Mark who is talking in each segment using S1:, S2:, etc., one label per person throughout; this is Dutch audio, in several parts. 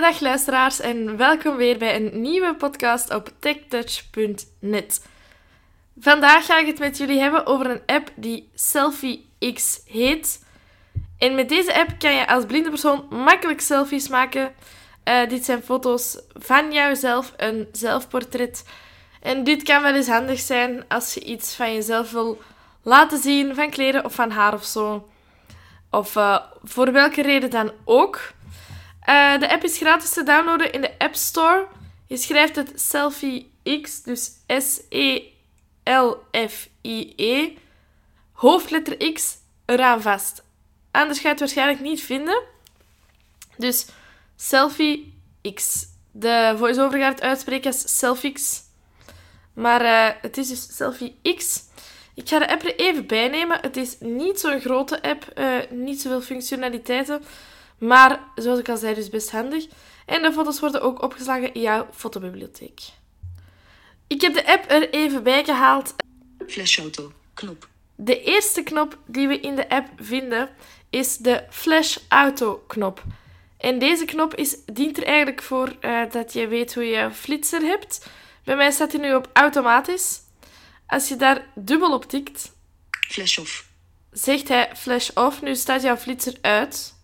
S1: dag luisteraars en welkom weer bij een nieuwe podcast op techtouch.net. Vandaag ga ik het met jullie hebben over een app die Selfie X heet. En met deze app kan je als blinde persoon makkelijk selfies maken. Eh, dit zijn foto's van jouzelf, een zelfportret. En dit kan wel eens handig zijn als je iets van jezelf wil laten zien, van kleren of van haar of zo. Of eh, voor welke reden dan ook. Eh, de app is gratis te downloaden in de App Store. Je schrijft het Selfie X, dus S-E-L-F-I-E. E. hoofdletter X eraan vast. Anders ga je het waarschijnlijk niet vinden. Dus Selfie X. De voice-over gaat het uitspreken als Selfix. Maar eh, het is dus Selfie X. Ik ga de app er even bij nemen. Het is niet zo'n grote app, eh, niet zoveel functionaliteiten. Maar zoals ik al zei, dus best handig. En de foto's worden ook opgeslagen in jouw fotobibliotheek. Ik heb de app er even bij gehaald.
S2: Flashauto. Knop.
S1: De eerste knop die we in de app vinden is de Flash Auto knop. En deze knop is, dient er eigenlijk voor eh, dat je weet hoe je flitser hebt. Bij mij staat hij nu op automatisch. Als je daar dubbel op tikt,
S2: Flash off.
S1: zegt hij flash off. Nu staat jouw flitser uit.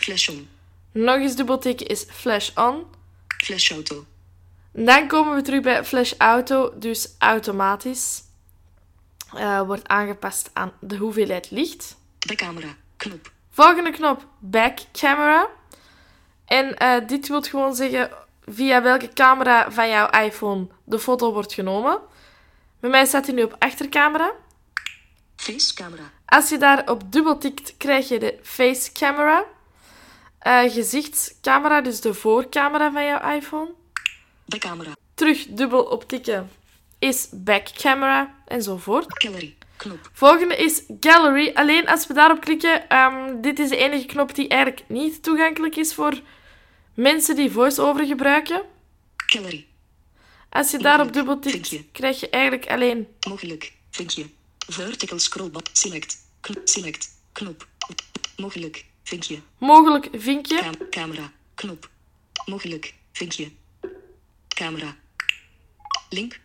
S2: Flash on.
S1: Nog eens dubbel tikken is flash on.
S2: Flashauto.
S1: Dan komen we terug bij Flash Auto, dus automatisch eh, wordt aangepast aan de hoeveelheid licht.
S2: Backcamera. Knop.
S1: Volgende knop, Back Camera. En eh, dit wil gewoon zeggen via welke camera van jouw iPhone de foto wordt genomen. Bij mij staat hij nu op achtercamera.
S2: Facecamera.
S1: Als je daarop dubbel tikt, krijg je de Face Camera. Eh, gezichtscamera, dus de voorcamera van jouw iPhone.
S2: Backcamera.
S1: terug dubbel op tikken is backcamera enzovoort.
S2: Gallery. Knop.
S1: Volgende is gallery. Alleen als we daarop klikken, ehm, dit is de enige knop die eigenlijk niet toegankelijk is voor mensen die voice-over gebruiken.
S2: Gallery.
S1: Als je daarop dubbel tikt,
S2: Vinkje.
S1: krijg je eigenlijk alleen
S2: Mogelijk. Vinkje. Vertical scrollbar. Select. Knop. Select. Knop. Mogelijk. Vinkje.
S1: mogelijk vinkje.
S2: Cam- camera. Knop. Mogelijk. Vinkje. Camera. Link.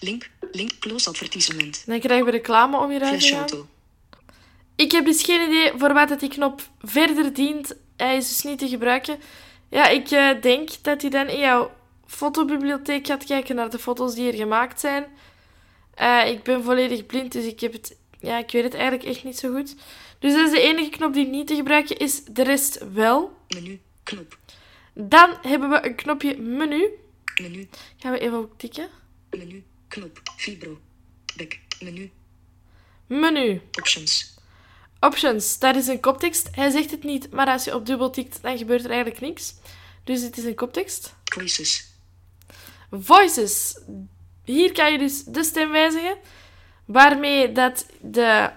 S2: Link. Link. Close advertisement.
S1: Dan krijgen we reclame om hieruit te gaan.
S2: Flashauto.
S1: Ik heb dus geen idee voor wat dat die knop verder dient. Hij is dus niet te gebruiken. Ja, ik eh, denk dat hij dan in jouw fotobibliotheek gaat kijken naar de foto's die er gemaakt zijn. Eh, ik ben volledig blind, dus ik, heb het, ja, ik weet het eigenlijk echt niet zo goed. Dus dat is de enige knop die niet te gebruiken is. De rest wel.
S2: Menu. Knop.
S1: Dan hebben we een knopje menu.
S2: Menu.
S1: Gaan we even op tikken.
S2: Menu. Knop. Vibro. Back. Menu.
S1: Menu.
S2: Options.
S1: Options, dat is een koptekst. Hij zegt het niet, maar als je op dubbel tikt, dan gebeurt er eigenlijk niks. Dus het is een koptekst.
S2: Quizzes.
S1: Voices. Hier kan je dus de stem wijzigen, waarmee dat de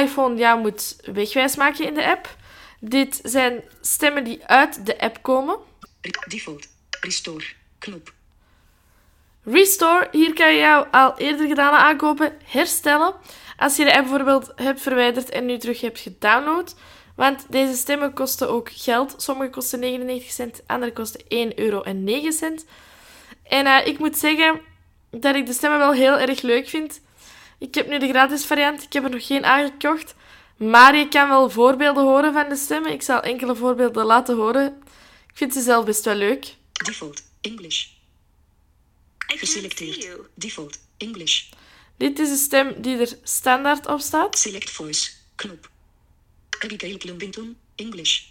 S1: iPhone jou moet wegwijs maken in de app. Dit zijn stemmen die uit de app komen.
S2: Re- Default. Restore. Knop.
S1: Restore, hier kan je jouw al eerder gedane aankopen herstellen. Als je de app bijvoorbeeld hebt verwijderd en nu terug hebt gedownload. Want deze stemmen kosten ook geld. Sommige kosten 99 cent, andere kosten 1,09 euro. En eh, ik moet zeggen dat ik de stemmen wel heel erg leuk vind. Ik heb nu de gratis variant, ik heb er nog geen aangekocht. Maar je kan wel voorbeelden horen van de stemmen. Ik zal enkele voorbeelden laten horen. Ik vind ze zelf best wel leuk.
S2: Default. English. Geselecteerd. Default. English.
S1: Dit is de stem die er standaard op staat.
S2: Select voice. Knop. Abigail Clumbington. English.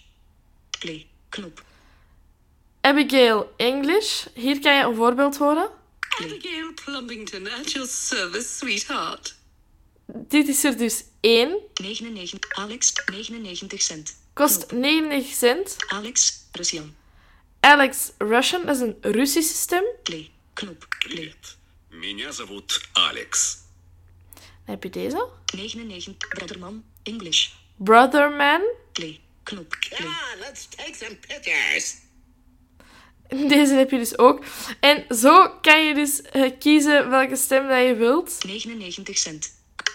S2: Play. Knop.
S1: Abigail English. Hier kan je een voorbeeld horen.
S3: Abigail Plumbington at your service, sweetheart.
S1: Dit is er dus één.
S2: 99. Alex. 99 cent.
S1: Kost 99 cent.
S2: Alex. Russian.
S1: Alex Russian, dat is een Russische stem.
S2: Play. Knop. Play.
S4: Привет. Меня зовут Алекс.
S1: Dan heb je deze.
S2: 99. Brotherman. English.
S1: Brotherman.
S2: Play. Knop. Play.
S5: on, let's take some pictures.
S1: Deze heb je dus ook. En zo kan je dus eh, kiezen welke stem dat je wilt.
S2: 99 cent.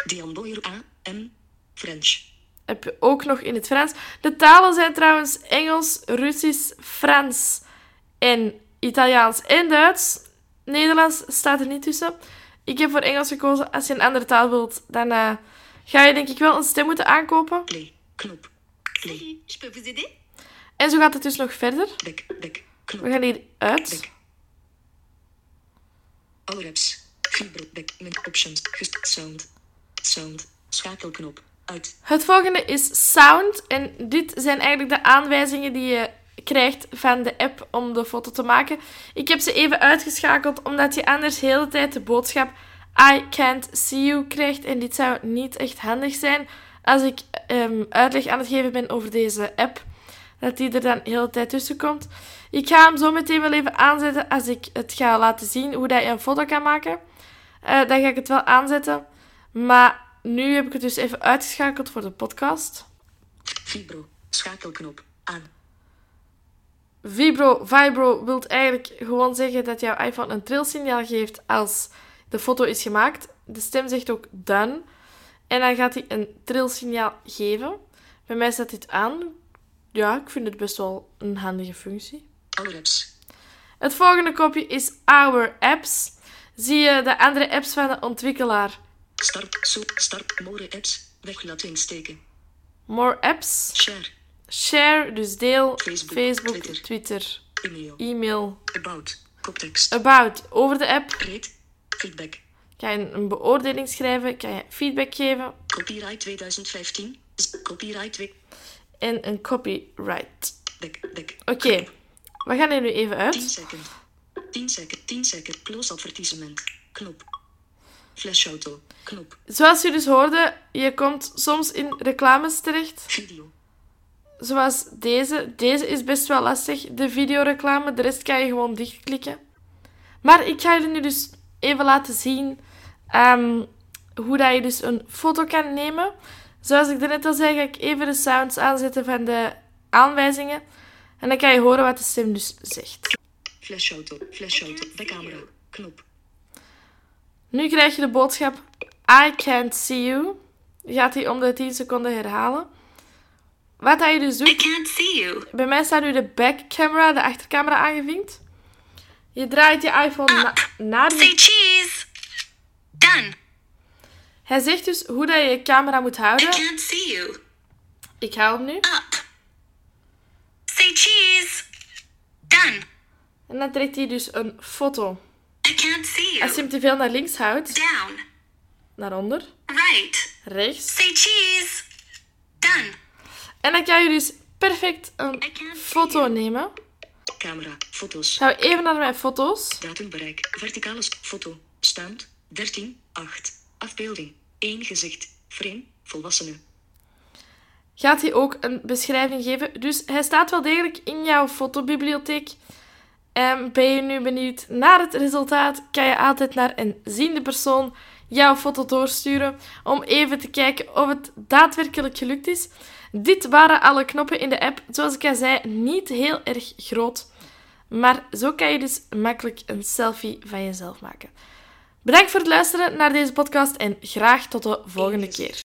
S2: Diane Boyer A. M. French.
S1: Eh, heb je ook nog in het Frans. De talen zijn trouwens Engels, Russisch, Frans en Italiaans en Duits. Nederlands staat er niet tussen. Ik heb voor Engels gekozen. Als je een andere taal wilt, dan eh, ga je denk ik wel een stem moeten aankopen.
S2: Play. Knop. Play.
S6: Salut, je peux vous aider
S1: En zo gaat het dus nog verder.
S2: Back. Back.
S1: We
S2: Knop.
S1: gaan hier uit.
S2: Back. Alle apps. Vibro. Back. Met options. Gest. Sound. Sound. Schakelknop. Uit.
S1: Het volgende is sound. En dit zijn eigenlijk de aanwijzingen die je krijgt van de app om de foto te maken. Ik heb ze even uitgeschakeld omdat je anders de hele tijd de boodschap I can't see you krijgt. En dit zou niet echt handig zijn als ik ehm, uitleg aan het geven ben over deze app. Dat die er dan de hele tijd tussen komt. Ik ga hem zo meteen wel even aanzetten als ik het ga laten zien hoe dat je een foto kan maken. Eh, dan ga ik het wel aanzetten. Maar nu heb ik het dus even uitgeschakeld voor de podcast.
S2: Vibro. Schakelknop. Aan.
S1: Vibro, Vibro wilt eigenlijk gewoon zeggen dat jouw iPhone een trilsignaal geeft als de foto is gemaakt. De stem zegt ook done. En dan gaat hij een trilsignaal geven. Bij mij staat dit aan. Ja, ik vind het best wel een handige functie.
S2: Alle apps.
S1: Het volgende kopje is Our Apps. Zie je de andere apps van de ontwikkelaar?
S2: Start. Zo. Start. More apps. Weg laten insteken.
S1: More Apps.
S2: Share.
S1: Share, dus deel.
S2: Facebook,
S1: Facebook,
S2: Twitter.
S1: Twitter,
S2: Email.
S1: e-mail.
S2: About. Koptekst.
S1: About, over de app.
S2: Rate. Feedback.
S1: Kan je een beoordeling schrijven, kan je feedback geven
S2: Copyright 2015. Z- Copyright. we-
S1: en een copyright.
S2: Back. Back.
S1: Oké, we gaan er nu even
S2: 10
S1: uit.
S2: second. 10 second. 10 second. Close advertisement. Knop. Flashauto. Knop.
S1: Zoals je dus hoorde, je komt soms in reclames terecht,
S2: Video.
S1: zoals deze. Deze is best wel lastig, de videoreclame, de rest kan je gewoon dichtklikken. Maar ik ga jullie nu dus even laten zien ehm, hoe dat je dus een foto kan nemen. Zoals ik daarnet al zei, ga ik even de sounds aanzetten van de aanwijzingen. En dan kan je horen wat de stem dus zegt.
S2: Flashauto. Flashauto. Backcamera. Knop.
S1: Nu krijg je de boodschap I can't see you. Je gaat die om de 10 seconden herhalen. Wat hij dus
S6: I
S1: doet,
S6: can't see you.
S1: bij mij staat nu de backcamera, de achtercamera aangevinkt. Je draait je iPhone na- naar
S6: Say
S1: je...
S6: cheese. Done.
S1: Hij zegt dus hoe dat je je camera moet
S6: I
S1: houden.
S6: can't see you.
S1: Ik hou hem nu.
S6: Up. Say cheese. Done.
S1: En dan trekt hij dus een foto.
S6: I can't see
S1: Als je
S6: you.
S1: hem te veel naar links houdt,
S6: Down.
S1: naar onder,
S6: Right.
S1: rechts.
S6: Say cheese. Done.
S1: En dan kan je dus perfect een
S6: I can't see
S1: foto
S6: you.
S1: nemen.
S2: Camera. Foto's.
S1: Gaan we even naar mijn foto's.
S2: Datumbereik. Verticale st- foto. Stand. 13. 8. Afbeelding. 1 gezicht. Frame. Volwassenen.
S1: gaat hij ook een beschrijving geven. Dus hij staat wel degelijk in jouw fotobibliotheek. En ben je nu benieuwd naar het resultaat, kan je altijd naar een ziende persoon jouw foto doorsturen om even te kijken of het daadwerkelijk gelukt is. Dit waren alle knoppen in de app, zoals ik al zei, niet heel erg groot. Maar zo kan je dus makkelijk een selfie van jezelf maken. Bedankt voor het luisteren naar deze podcast en graag tot de volgende keer.